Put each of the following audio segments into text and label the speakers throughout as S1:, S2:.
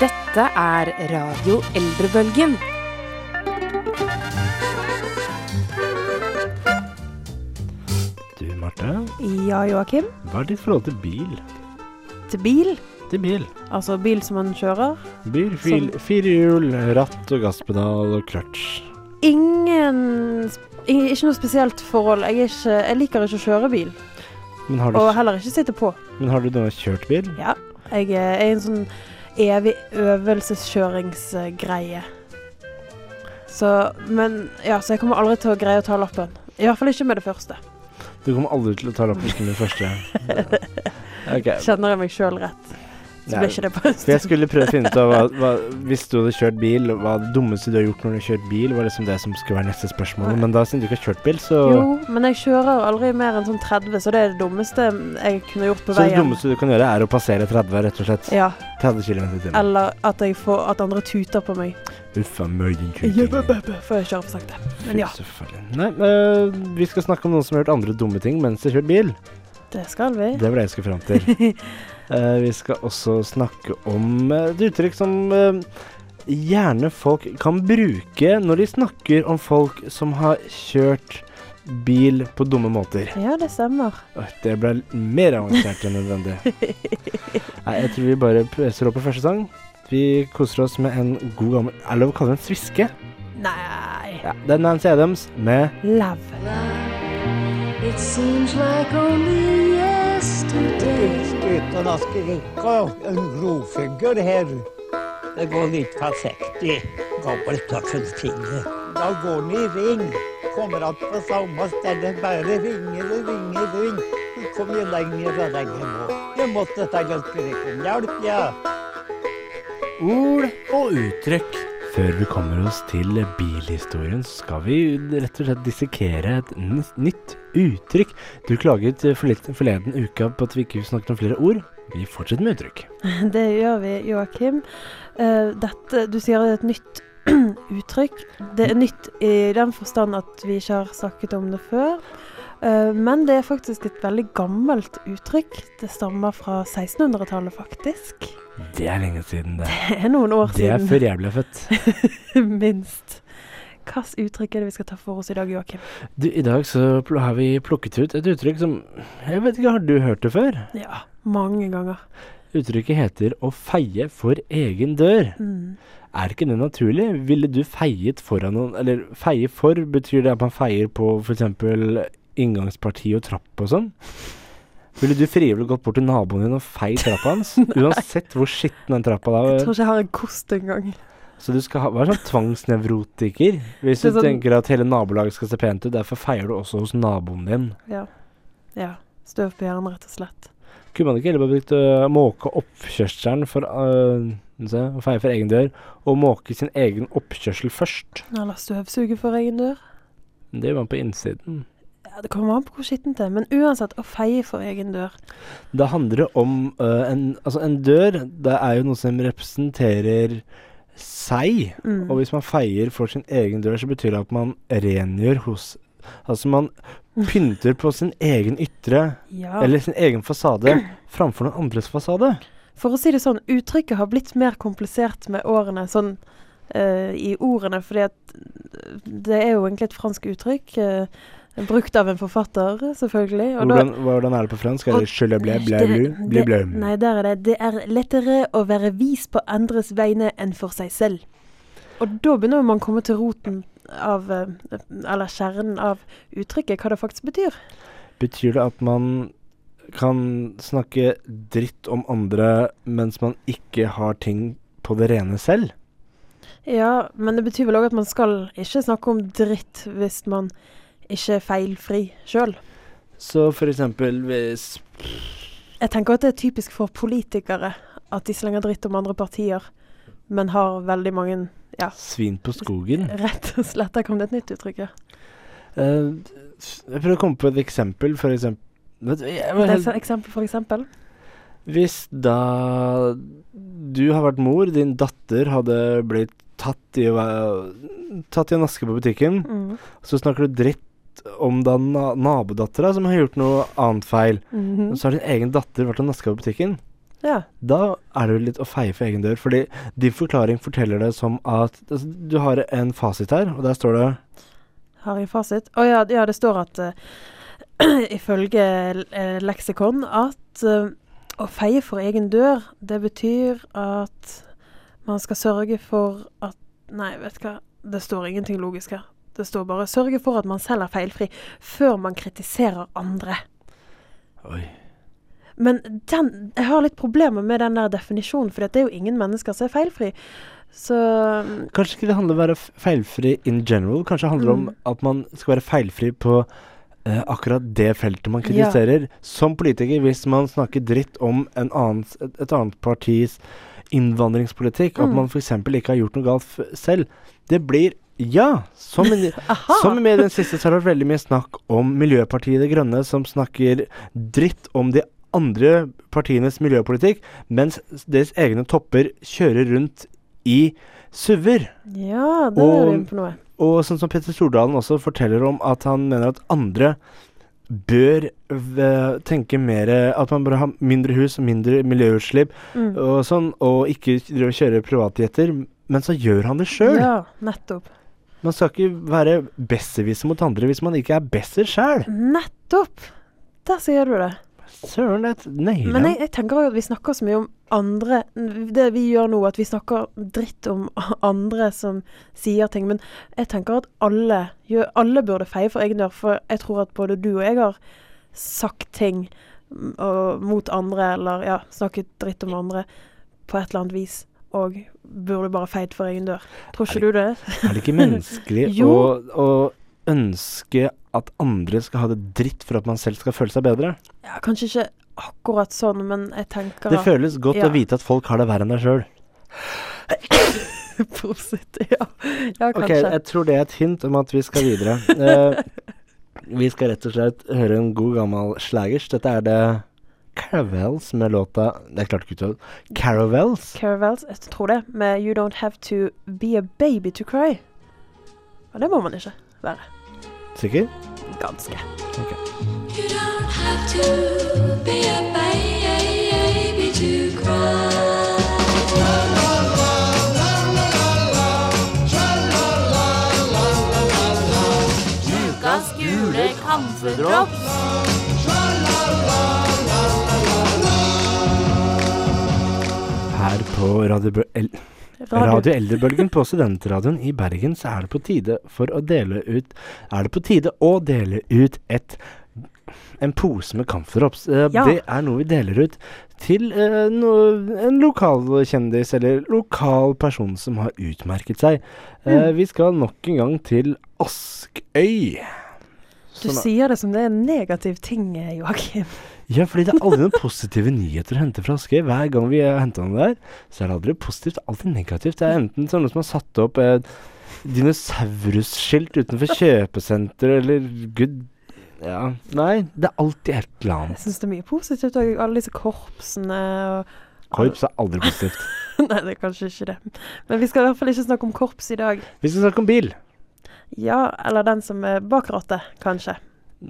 S1: Dette er Radio Eldrebølgen.
S2: Du, Marte,
S3: Ja, Joakim.
S2: hva er ditt forhold til bil?
S3: Til bil.
S2: Til bil?
S3: Altså bil som man kjører.
S2: Bil, fil, fire hjul, ratt og gasspedal og kløtsj.
S3: Ingen sp- i- Ikke noe spesielt forhold. Jeg, er ikke, jeg liker ikke å kjøre bil.
S2: Men har,
S3: Og
S2: du,
S3: heller ikke sitte på.
S2: men har du noen gang kjørt bil?
S3: Ja. Jeg er i en sånn evig øvelseskjøringsgreie. Så Men ja, så jeg kommer aldri til å greie å ta lappen. I hvert fall ikke med det første.
S2: Du kommer aldri til å ta lappen din første. Ok.
S3: Kjenner jeg meg sjøl rett, så
S2: Nei,
S3: blir ikke det på en
S2: For jeg
S3: stund.
S2: skulle prøve å finne ut av hva, hva, hvis du hadde kjørt bil, hva det dummeste du har gjort når du har kjørt bil, var liksom det som skulle være neste spørsmål. Men da siden du ikke har kjørt bil, så
S3: Jo, men jeg kjører aldri mer enn sånn 30, så det er det dummeste jeg kunne gjort på
S2: Så det
S3: veien.
S2: dummeste du kan gjøre, er å passere 30, rett og slett.
S3: Ja,
S2: 30 km i timen.
S3: Eller at jeg får At andre tuter på meg.
S2: Uff a møyen
S3: Ja,
S2: kjøring.
S3: bæ, bæ, bæ, For jeg kjører for sakte. Men ja,
S2: Fy, så farlig. Nei, øh, vi skal snakke om noen som har gjort andre dumme ting mens de har kjørt bil.
S3: det skal vi.
S2: Det var det jeg skulle fram til. Eh, vi skal også snakke om eh, et uttrykk som eh, gjerne folk kan bruke når de snakker om folk som har kjørt bil på dumme måter.
S3: Ja, det stemmer.
S2: Åh, Det ble mer avansert enn nødvendig. Nei, jeg tror vi bare pøser opp på første sang. Vi koser oss med en god gammel Er det lov å kalle det en sviske?
S3: Nei
S2: Ja, det er Nancy Adams med
S3: Lav.
S4: It seems like only yesterday.
S5: uten å skrike og en grovfugl her. Det går litt forsiktig. Gammel tørrfinger. Da går den i ring. Kommer att på samme sted. Bare ringer og ringer og ringer. Så kommer jeg lenger og lenger nå. Jeg måtte ta og skrike om hjelp, ja.
S2: ord og uttrykk. Før vi kommer oss til bilhistorien, så skal vi rett og slett dissekere et n- nytt uttrykk. Du klaget for litt forleden uka på at vi ikke snakket om flere ord. Vi fortsetter med uttrykk.
S3: Det gjør vi, Joakim. Eh, Dette Du sier det er et nytt uttrykk. Det er nytt i den forstand at vi ikke har snakket om det før. Eh, Men det er faktisk et veldig gammelt uttrykk. Det stammer fra 1600-tallet, faktisk.
S2: Det er lenge siden, det.
S3: Det er noen år
S2: Det er
S3: siden,
S2: før jeg ble født.
S3: minst. Hvilket uttrykk er det vi skal ta for oss i dag, Joakim?
S2: Du, I dag så pl- har vi plukket ut et uttrykk som Jeg vet ikke, har du hørt det før?
S3: Ja, mange ganger.
S2: Uttrykket heter 'å feie for egen dør'.
S3: Mm.
S2: Er ikke det naturlig? Ville du feiet foran noen Eller feie for betyr det at man feier på f.eks. inngangsparti og trapp og sånn? Ville du frivillig gått bort til naboen din og feid trappa hans? Uansett hvor skitten den trappa
S3: Jeg
S2: da eh,
S3: tror ikke jeg har en kost engang.
S2: Så du skal ha, være sånn tvangsnevrotiker hvis du
S3: Det er sånn-
S2: tenker at hele nabolaget skal se pent ut. Derfor feier du også hos naboen din.
S3: Ja. ja. Støv på hjernen, rett og slett.
S2: Kunne man ikke heller bare brukt å måke oppkjørselen for øh, se, å feie for egen dør, og måke sin egen oppkjørsel først?
S3: Eller støvsuge for egen dør.
S2: Det gjør man på innsiden.
S3: Ja, det kommer an på hvor skittent det er, men uansett, å feie for egen dør.
S2: Det handler det om øh, en, altså en dør. Det er jo noe som representerer seg.
S3: Mm.
S2: Og hvis man feier for sin egen dør, så betyr det at man rengjør hos Altså man pynter på sin egen ytre,
S3: Ja.
S2: eller sin egen fasade, framfor noen andres fasade.
S3: For å si det sånn, uttrykket har blitt mer komplisert med årene, sånn eh, i ordene, fordi at eh, det er jo egentlig et fransk uttrykk. eh, Brukt av en forfatter, selvfølgelig. og da-
S2: Hvordan, hvordan er det på fransk? Er
S3: Og-
S2: det je le blé, blé,
S3: Det-
S2: blu, blé,
S3: det-
S2: blé?
S3: Nei, der er det. Det er lettere å være vis på andres vegne enn for seg selv. Og da begynner man å komme til roten av eh, Eller kjernen av uttrykket, hva det faktisk betyr.
S2: Betyr det at man kan snakke dritt om andre mens man ikke har ting på det rene selv?
S3: Ja, men det betyr vel òg at man skal ikke snakke om dritt hvis man ikke er feilfri sjøl.
S2: Så for eksempel hvis
S3: Jeg tenker at det er typisk for politikere at de slenger dritt om andre partier, men har veldig mange
S2: Svin på skogen.
S3: Rett og slett, der kom det et nytt uttrykk, ja.
S2: Eh, jeg prøver å komme på et eksempel, for eksempel Vet du, jeg var
S3: Det er
S2: helt-
S3: så eksempel for eksempel.
S2: Hvis da du har vært mor, din datter hadde blitt tatt i, å være- tatt i en aske på butikken,
S3: Mm.
S2: så snakker du dritt om da na nabodattera som har gjort noe annet feil.
S3: Mhm.
S2: Så har din egen datter vært og naska på butikken.
S3: Ja.
S2: Da er det jo litt å feie for egen dør, fordi din forklaring forteller det som at altså, Du har en fasit her, og der står det
S3: Har jeg fasit? Å ja, ja, det står at eh, ifølge eh, leksikon at eh, å feie for egen dør, det betyr at man skal sørge for at Nei, vet du hva, det står ingenting logisk her. Det står bare 'sørge for at man selv er feilfri før man kritiserer andre'.
S2: Oi.
S3: Men den, jeg har litt problemer med den der definisjonen, for det er jo ingen mennesker som er feilfri. Så
S2: Kanskje ikke det handler om å være f- feilfri in general? Kanskje det handler om
S3: Mm.
S2: at man skal være feilfri på eh, akkurat det feltet man kritiserer. Som politiker, hvis man snakker dritt om en annens, et, et annet partis innvandringspolitikk,
S3: Mm.
S2: at man f.eks. ikke har gjort noe galt f selv, det blir ja! Som, i-
S3: aha!
S2: som i media i det siste så har det vært veldig mye snakk om Miljøpartiet De Grønne, som snakker dritt om de andre partienes miljøpolitikk, mens deres egne topper kjører rundt i SUV-er.
S3: Ja, det er
S2: Og-
S3: du inne på noe.
S2: Og sånn som Petter Stordalen også forteller om at han mener at andre bør v- tenke mer At man bør ha mindre hus og mindre miljøutslipp
S3: Mm.
S2: og sånn, og ikke drive og kjøre privatjeter. Men så gjør han det sjøl.
S3: Ja, nettopp.
S2: Man skal ikke være besserwisser mot andre hvis man ikke er besser sjæl.
S3: Mm. Nettopp! Der sier du det.
S2: Søren, det
S3: Men
S2: nailer
S3: jeg, jeg tenker jo at vi snakker så mye om andre Det vi gjør nå, at vi snakker dritt om andre som sier ting. Men jeg tenker at alle, gjør- alle burde feie for egen dør, for jeg tror at både du og jeg har sagt ting mm, og, mot andre, eller ja, snakket dritt om andre på et eller annet vis. Og burde bare feit for egen dør. Tror ikke du det?
S2: Er det ikke menneskelig å,
S3: Jo.
S2: å ønske at andre skal ha det dritt for at man selv skal føle seg bedre?
S3: Ja, kanskje ikke akkurat sånn, men jeg tenker
S2: Det føles godt
S3: Ja.
S2: å vite at folk har det verre enn deg sjøl.
S3: Prosit. Ja, ja
S2: Ok,
S3: kanskje.
S2: jeg tror det er et hint om at vi skal videre. Eh, vi skal rett og slett høre en god gammel slagers. Dette er det Caravels med låta Det er klart ikke uttale Caravels?
S3: Caravels, jeg tror det, med You Don't Have To Be A Baby To Cry. Og det må man ikke være.
S2: Sikker?
S3: Ganske.
S4: You don't have to be a baby to cry.
S6: Ukas gule kamferdrops.
S2: Her på Radio, Bø- El Radio Eldrebølgen på Studentradioen i Bergen så er det på tide for å dele ut Er det på tide å dele ut et en pose med kamferdrops. Eh,
S3: Ja.
S2: Det er noe vi deler ut til eh, no, en lokal kjendis eller lokal person som har utmerket seg. Eh, vi skal nok en gang til Askøy.
S3: Du
S2: Sånn er-
S3: sier det som det er en negativ ting, eh, Joakim.
S2: ja, fordi det er aldri noen positive nyheter å hente fra Askøy. Hver gang vi eh, henter noe der, så er det aldri positivt, det er alltid negativt. Det er enten sånne som har satt opp eh, dinosaurusskilt utenfor kjøpesenter, eller gud Ja. Nei, det er alltid et eller
S3: Jeg
S2: annet.
S3: syns det er mye positivt òg. Alle disse korpsene og
S2: Korps er aldri positivt.
S3: Nei, det er kanskje ikke det. Men vi skal i hvert fall ikke snakke om korps i dag.
S2: Vi skal snakke om bil.
S3: Ja, eller den som er bak rattet, kanskje.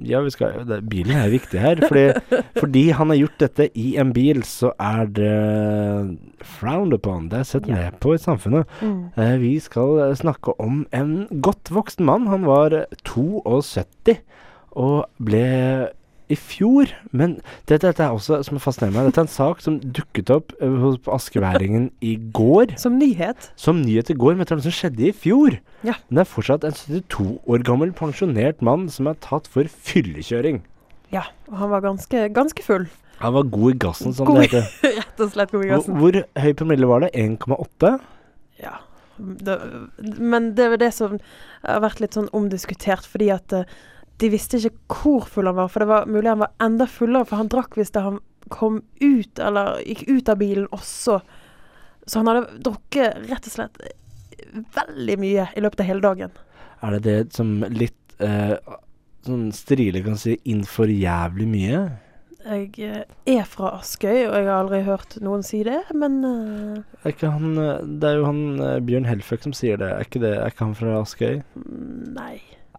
S2: Ja, vi skal, det, bilen er viktig her. Fordi, fordi han har gjort dette i en bil, så er det frowned upon. Det er sett
S3: Ja.
S2: ned på i samfunnet. Eh, Vi skal eh, snakke om en godt voksen mann. Han var eh, 72 og ble i fjor Men dette, dette er også som fascinerer meg. Dette er en sak som dukket opp eh, hos på askeværingen i går.
S3: Som nyhet.
S2: Som nyhet i går, men det er noe som skjedde i fjor.
S3: Ja.
S2: Men det er fortsatt en 72 år gammel pensjonert mann som er tatt for fyllekjøring.
S3: Ja, og han var ganske, ganske full.
S2: Han var god i gassen, som
S3: God i
S2: det heter.
S3: Rett og slett god i gassen.
S2: Hvor, hvor høy promille var det? 1,8?
S3: Ja. Det, men det er jo det som har vært litt sånn omdiskutert, fordi at eh, de visste ikke hvor full han var. For det var mulig han var enda fullere, for han drakk hvis da han kom ut, eller gikk ut av bilen også. Så han hadde drukket rett og slett veldig mye i løpet av hele dagen.
S2: Er det det som litt eh, sånn strile kan si innenfor jævlig mye?
S3: Jeg eh, er fra Askøy, og jeg har aldri hørt noen si det, men eh,
S2: Er ikke han, eh, det er jo han eh, Bjørn Helføk som sier det. Er ikke det, er ikke han fra Askøy?
S3: nei.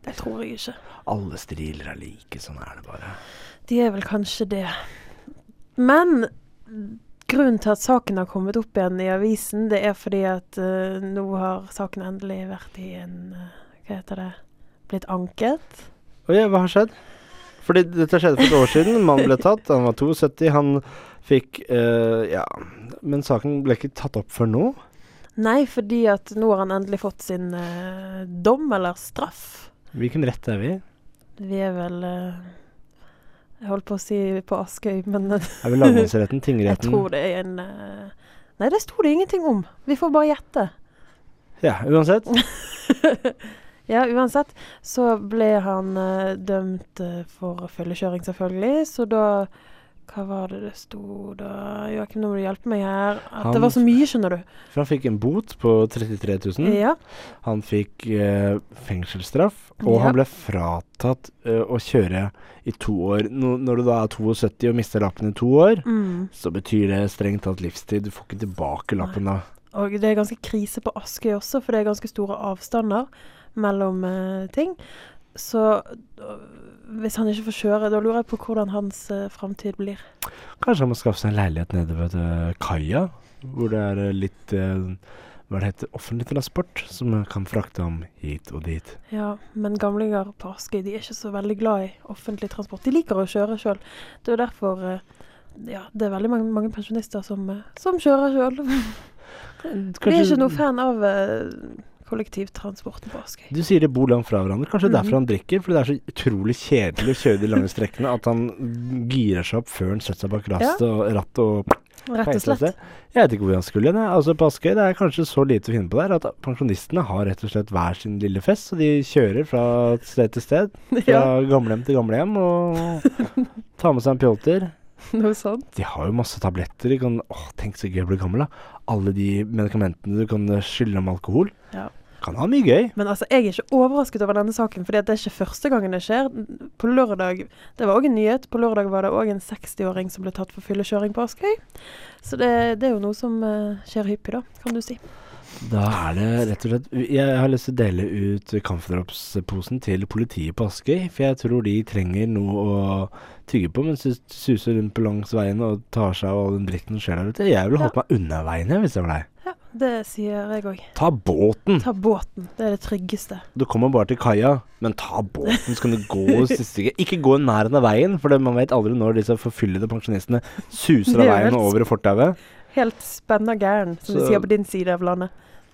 S3: Det tror jeg ikke.
S2: Alle striler er like, sånn er det bare.
S3: De er vel kanskje det. Men Grunnen til at saken har kommet opp igjen i avisen, det er fordi at eh, nå har saken endelig vært i en eh, Hva heter det? Blitt anket.
S2: Oi, hva har skjedd? Fordi dette skjedde for et år siden. Mannen ble tatt, han var 72. Han fikk eh, Ja. Men saken ble ikke tatt opp før nå.
S3: Nei, fordi at nå har han endelig fått sin eh, dom, eller straff.
S2: Hvilken rett er vi i?
S3: Vi er vel eh, Jeg holdt på å si på Askøy, men
S2: Er vi lagmannsretten,
S3: jeg
S2: tingretten?
S3: tror det er en eh, Nei, det sto det ingenting om. Vi får bare gjette.
S2: Ja, uansett.
S3: Ja, uansett så ble han eh, dømt eh, for fyllekjøring, selvfølgelig. Så da Hva var det det sto da? Joakim, nå må du hjelpe meg her. At
S2: Han-
S3: det var så mye, skjønner du.
S2: For han fikk en bot på 33 000.
S3: Ja.
S2: Han fikk eh, fengselsstraff, og
S3: Ja.
S2: han ble fratatt eh, å kjøre i to år. Nå, når du da er 72 og mister lappen i to år,
S3: Mm.
S2: så betyr det strengt tatt livstid. Du får ikke tilbake lappen da.
S3: Og det er ganske krise på Askøy også, for det er ganske store avstander mellom eh, ting. Så øh, hvis han ikke får kjøre, da lurer jeg på hvordan hans uh, framtid blir.
S2: Kanskje han må skaffe seg en leilighet nede ved eh, kaia, hvor det er eh, litt eh, hva det heter, offentlig transport som kan frakte ham hit og dit.
S3: Ja, men gamlinger på Askøy de er ikke så veldig glad i offentlig transport. De liker å kjøre sjøl. Det er jo derfor eh, ja, det er veldig mange, mange pensjonister som, eh, som kjører sjøl. Vi er ikke noe fan av eh, kollektivtransporten på Askøy.
S2: Du sier de bor langt fra hverandre. Kanskje det er
S3: Mhm.
S2: derfor han drikker? Fordi det er så utrolig kjedelig å kjøre de lange strekkene at han girer seg opp før han setter seg bak rastet og rattet og
S3: Rett og
S2: fengsler seg.
S3: slett.
S2: Jeg vet ikke hvor han skulle. Nei. Altså, på Askøy det er kanskje så lite å finne på der at pensjonistene har rett og slett hver sin lille fest, så de kjører fra sted til sted. Fra
S3: Ja,
S2: gamlehjem til gamlehjem og tar med seg en pjolter.
S3: noe sånt.
S2: De har jo masse tabletter. De kan, åh, tenk så gøy å bli gammel, da. Alle de medikamentene du kan skylle om alkohol.
S3: Ja.
S2: Kan ha mye gøy.
S3: Men altså, jeg er ikke overrasket over denne saken, fordi at det er ikke første gangen det skjer. På lørdag, Det var òg en nyhet. På lørdag var det òg en 60-åring som ble tatt for fyllekjøring på Askøy. Så det, det er jo noe som eh, skjer hyppig, da, kan du si.
S2: Da er det rett og slett Jeg har lyst til å dele ut kampfdropsposen til politiet på Askøy. For jeg tror de trenger noe å tygge på mens de suser rundt på langs veien og tar seg av all den dritten som skjer der ute. Jeg ville holdt meg unna veien jeg, hvis jeg var deg.
S3: Ja, Det sier jeg òg.
S2: Ta båten!
S3: Ta båten. Det er det tryggeste.
S2: Du kommer bare til kaia, men ta båten, så kan du gå siste stykket. Ikke gå i nærheten av veien, for det- man vet aldri når disse forfyllede pensjonistene suser av
S3: Det er
S2: veien
S3: vel
S2: og over i fortauet.
S3: Helt spenna gæren, som de
S2: Så-
S3: sier på din side av landet.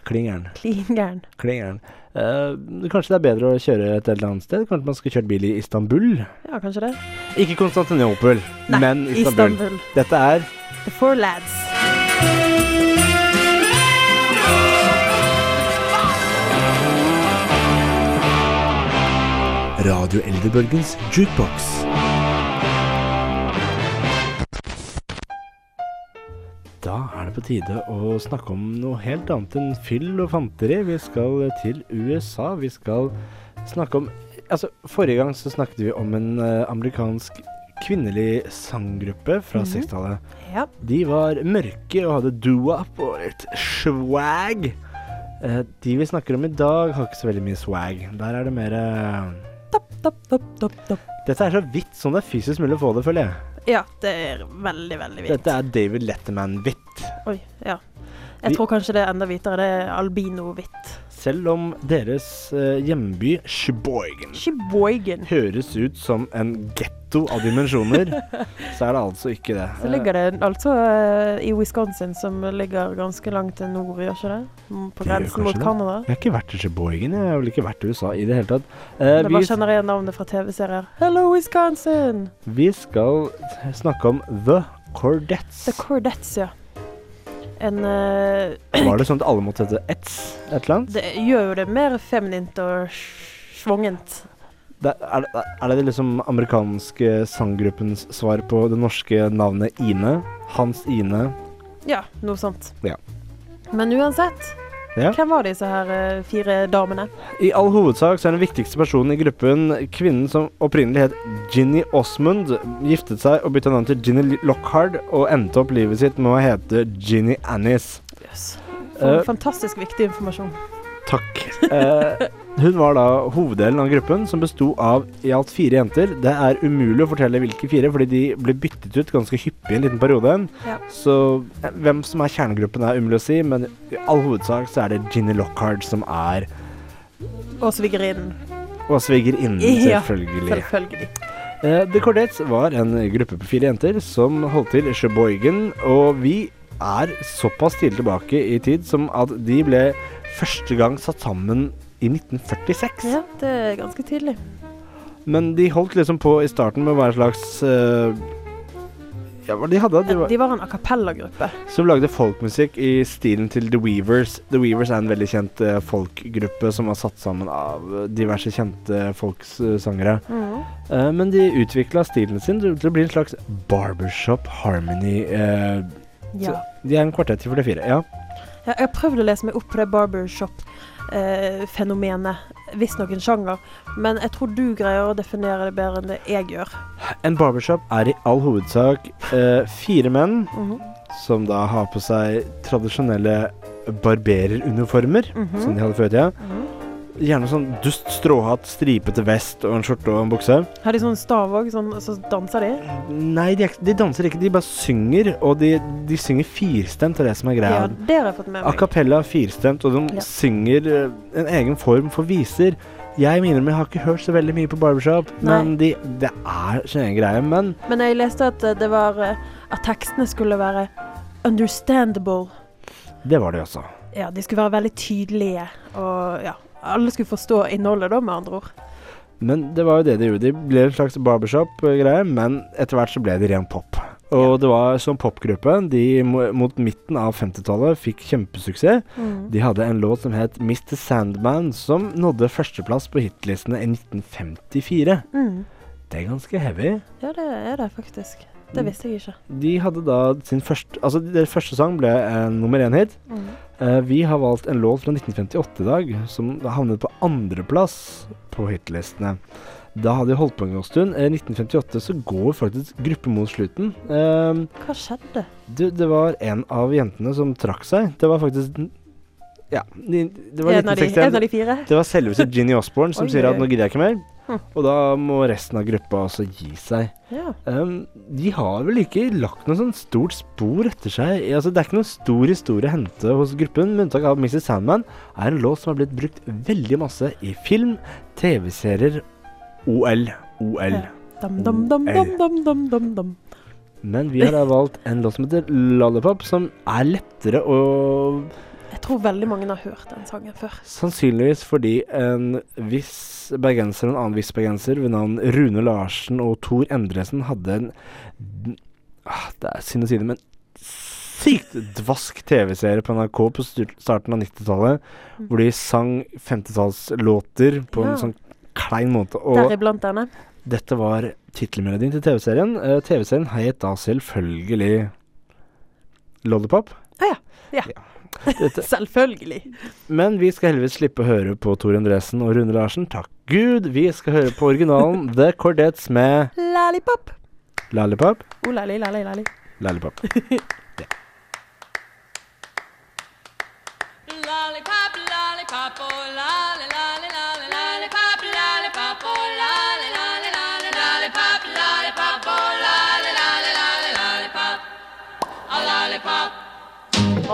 S2: Kling gæren.
S3: Klin gæren.
S2: Kling gæren. Eh, kanskje det er bedre å kjøre et eller annet sted? Kanskje man skulle kjørt bil i Istanbul?
S3: Ja, kanskje det.
S2: Ikke Konstantinopel,
S3: Nei,
S2: men Istanbul.
S3: Istanbul.
S2: Dette er
S3: The Four Lads.
S2: Radio Eldrebølgens jukebox. Da er det på tide å snakke om noe helt annet enn fyll og fanteri. Vi skal til USA. Vi skal snakke om Altså, forrige gang så snakket vi om en eh, amerikansk kvinnelig sanggruppe fra
S3: Mhm.
S2: 60-tallet.
S3: Ja.
S2: De var mørke og hadde doo-up og litt swag. Eh, De vi snakker om i dag, har ikke så veldig mye swag. Der er det mer eh,
S3: Topp, topp, topp, topp, topp.
S2: Dette er så vidt som det er fysisk mulig å få det, føler jeg.
S3: Ja, det er veldig, veldig vidt.
S2: Dette er David Letterman-hvitt.
S3: Oi, ja.
S2: Vi-
S3: Jeg tror kanskje det er enda hvitere. Det er albino-hvitt.
S2: Selv om deres eh, hjemby, Sheboygan,
S3: Sheboygan.
S2: høres ut som en getto av dimensjoner, så er det altså ikke det.
S3: Så ligger det altså eh, i Wisconsin, som ligger ganske langt til nord, gjør ikke det? Mm, På
S2: Det gjør
S3: grensen
S2: kanskje
S3: mot
S2: det. Eh,
S3: Canada.
S2: Jeg har ikke vært i Sheboygan, jeg har vel ikke vært i USA i det hele tatt. Eh,
S3: Jeg bare kjenner igjen navnet fra TV-serier. Hello, Wisconsin!
S2: Vi skal snakke om The Cordettes.
S3: The Cordettes, ja. En eh,
S2: Var det sånn at alle måtte hete Etz? Et eller annet?
S3: Det gjør jo det mer feminint og sj- svungent.
S2: Det, er, det- er det liksom amerikanske sanggruppens svar på det norske navnet Ine? Hans Ine?
S3: Ja, noe sånt.
S2: Ja.
S3: Men uansett,
S2: Ja.
S3: hvem var disse her eh, fire damene?
S2: I all hovedsak så er den viktigste personen i gruppen kvinnen som opprinnelig het Ginny Osmond, giftet seg og bytta navn til Ginny Lockhard og endte opp livet sitt med å hete Ginny Annis.
S3: Jøss. For
S2: Eh.
S3: fantastisk viktig informasjon.
S2: Takk. Eh, Hun var da hoveddelen av gruppen, som besto av i alt fire jenter. Det er umulig å fortelle hvilke fire, fordi de ble byttet ut ganske hyppig en liten periode.
S3: Ja.
S2: Så eh, hvem som er kjernegruppen, er umulig å si, men i all hovedsak så er det Ginny Lockhart som er
S3: Og svigerinnen,
S2: Og svigerinnen,
S3: Ja,
S2: selvfølgelig.
S3: selvfølgelig.
S2: Eh, The Cordettes var en gruppe på fire jenter som holdt til i Sheboygan, og vi er såpass tidlig tilbake i tid som at de ble første gang satt sammen i 1946.
S3: Ja, det er ganske tidlig.
S2: Men de holdt liksom på i starten med å være en slags eh, Ja, hva de hadde? De var,
S3: De var en a cappella-gruppe.
S2: som lagde folkmusikk i stilen til The Weavers. The Weavers er en veldig kjent eh, folkgruppe som var satt sammen av eh, diverse kjente folksangere. Eh, men de utvikla stilen sin til å bli en slags barbershop harmony. eh,
S3: Ja.
S2: de er en kvartett i 44, ja.
S3: Ja, Jeg har prøvd å lese meg opp på det barbershop-fenomenet. eh, Visstnok en sjanger. Men jeg tror du greier å definere det bedre enn det jeg gjør.
S2: En barbershop er i all hovedsak eh, fire menn
S3: Mhm.
S2: som da har på seg tradisjonelle barbereruniformer,
S3: Mhm.
S2: som de hadde før i tida.
S3: Mhm.
S2: Gjerne sånn dust stråhatt, stripete vest og en skjorte og en bukse.
S3: Har de sånn stav òg, sånn, så danser de?
S2: Nei, de, er ikke- de danser ikke, de bare synger, og de, de synger firstemt, det er det som er greia.
S3: Ja, det har jeg fått med
S2: A
S3: meg.
S2: cappella firstemt, og de
S3: Ja.
S2: synger eh, en egen form for viser. Jeg minner om jeg har ikke hørt så veldig mye på Barbershop, men de, det er sin egen greie. Men
S3: Men jeg leste at eh, det var eh, At tekstene skulle være understandable.
S2: det var de også.
S3: Ja, de skulle være veldig tydelige. Og ja, alle skulle forstå innholdet, da, med andre ord.
S2: Men det var jo det de gjorde. De ble en slags barbershop-greie, men etter hvert så ble de ren pop. Og det var som popgruppe. De mo- mot midten av 50-tallet fikk kjempesuksess.
S3: Mm.
S2: De hadde en låt som het Mr. Sandman, som nådde førsteplass på hitlistene i 1954.
S3: Mm.
S2: Det er ganske heavy.
S3: Ja, det er det faktisk. Det visste jeg ikke.
S2: De hadde da sin første Altså, deres første sang ble en nummer én-hit.
S3: Mm.
S2: Eh, vi har valgt en låt fra 1958 i dag, som havnet på andreplass på hitlistene. Da hadde de holdt på en god stund. I 1958 så går faktisk gruppen mot slutten. Eh,
S3: Hva skjedde?
S2: du, det var en av jentene som trakk seg. Det var faktisk Ja, de, det var
S3: En av, de,
S2: 1961.
S3: en av de fire?
S2: Det var selveste Ginny Osborne som
S3: Oi,
S2: sier
S3: oi,
S2: at nå
S3: oi.
S2: gidder jeg ikke mer.
S3: Hm.
S2: Og da må resten av gruppa også gi seg.
S3: Ja.
S2: Ehm, de har vel ikke lagt noe sånn stort spor etter seg. Altså, det er ikke noen stor historie å hente hos gruppen, med unntak av Mrs. Sandman, er en låt som har blitt brukt veldig masse i film, TV-serier, OL, OL.
S3: Ja. Dam, dam, dam, dam, dam, dam, dam, dam.
S2: Men vi har da valgt en låt som heter Lollipop, som er lettere å
S3: Jeg tror veldig mange har hørt den sangen før.
S2: Sannsynligvis fordi en viss bergenser og en annen viss bergenser ved navn Rune Larsen og Tor Endresen hadde en ah, Det er synd å si det, men sykt dvask TV-serie på NRK på stu- starten av 90-tallet, hvor de sang 50-tallslåter på
S3: Ja.
S2: en sånn klein måte. Og
S3: Deriblant denne.
S2: dette var tittelmelodien til TV-serien. Eh, TV-serien het da selvfølgelig Lollipop.
S3: Ah, Selvfølgelig.
S2: Men vi skal heldigvis slippe å høre på Tor Endresen og Rune Larsen. Takk Gud! Vi skal høre på originalen The Cordettes med
S3: Lollipop.
S2: Lollipop.
S3: Oh, lali, lali, lali.
S2: Lollipop.
S6: Lollipop, lollipop, oh lolly, lolly, lolly, lollipop, lollipop, oh lolly, lolly, lolly, lollipop, lollipop, oh lolly, lolly, lolly, lollipop, a lollipop.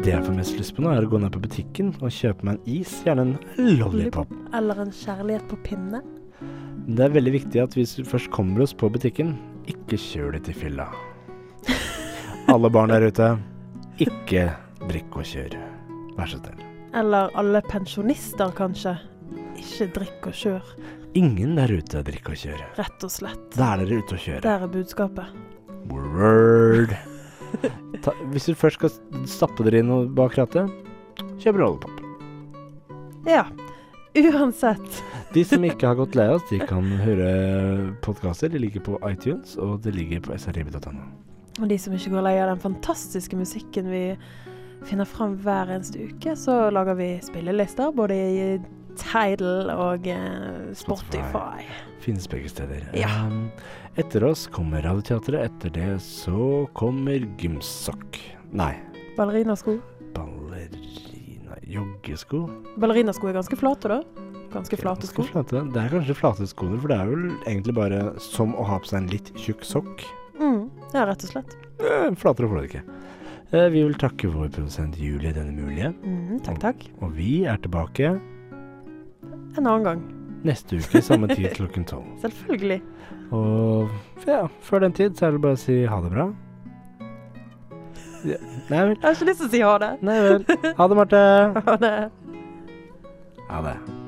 S2: Det jeg får mest lyst på nå, er å gå ned på butikken og kjøpe meg en is, gjerne en lollipop.
S3: Eller en kjærlighet på pinne.
S2: Det er veldig viktig at hvis vi først kommer oss på butikken, ikke kjør det til fylla. Alle barn der ute, ikke drikk og kjør. Vær så snill.
S3: Eller alle pensjonister, kanskje. Ikke drikk og kjør,
S2: Ingen der ute drikker og kjører.
S3: rett og slett.
S2: Da er dere ute og kjører.
S3: Der er budskapet.
S2: Word. Ta, hvis du først skal stappe dere inn og bak rattet, kjøp rollepop.
S3: Ja. Uansett.
S2: De som ikke har gått lei av oss, de kan høre podkaster. De ligger på iTunes, og det ligger på srib.no.
S3: Og de som ikke går lei av den fantastiske musikken vi finner fram hver eneste uke, så lager vi spillelister både i Tidal og eh, Spotify.
S2: Finnes begge steder.
S3: Ja.
S2: Um, etter oss kommer Radioteatret. Etter det så kommer gymsokk. Nei,
S3: Ballerinasko.
S2: ballerina Joggesko?
S3: Ballerinasko er ganske flate, da. Ganske flate
S2: Ganske
S3: sko.
S2: flate. Det er kanskje flate skoene, for det er vel egentlig bare som å ha på seg en litt tjukk sokk.
S3: Mm, ja, rett og slett.
S2: Eh, Flatere får du det ikke. Eh, Vi vil takke vår produsent Julie denne mulige,
S3: Mm, takk, takk.
S2: og vi er tilbake
S3: En annen gang.
S2: neste uke samme tid klokken tolv.
S3: Selvfølgelig.
S2: Og ja, før den tid så er det bare å si ha det bra. Ja. Nei vel.
S3: Jeg har ikke lyst til å si ha det. eh,
S2: Nei vel. Ha det, Marte.
S3: Ha det.
S2: Ha det.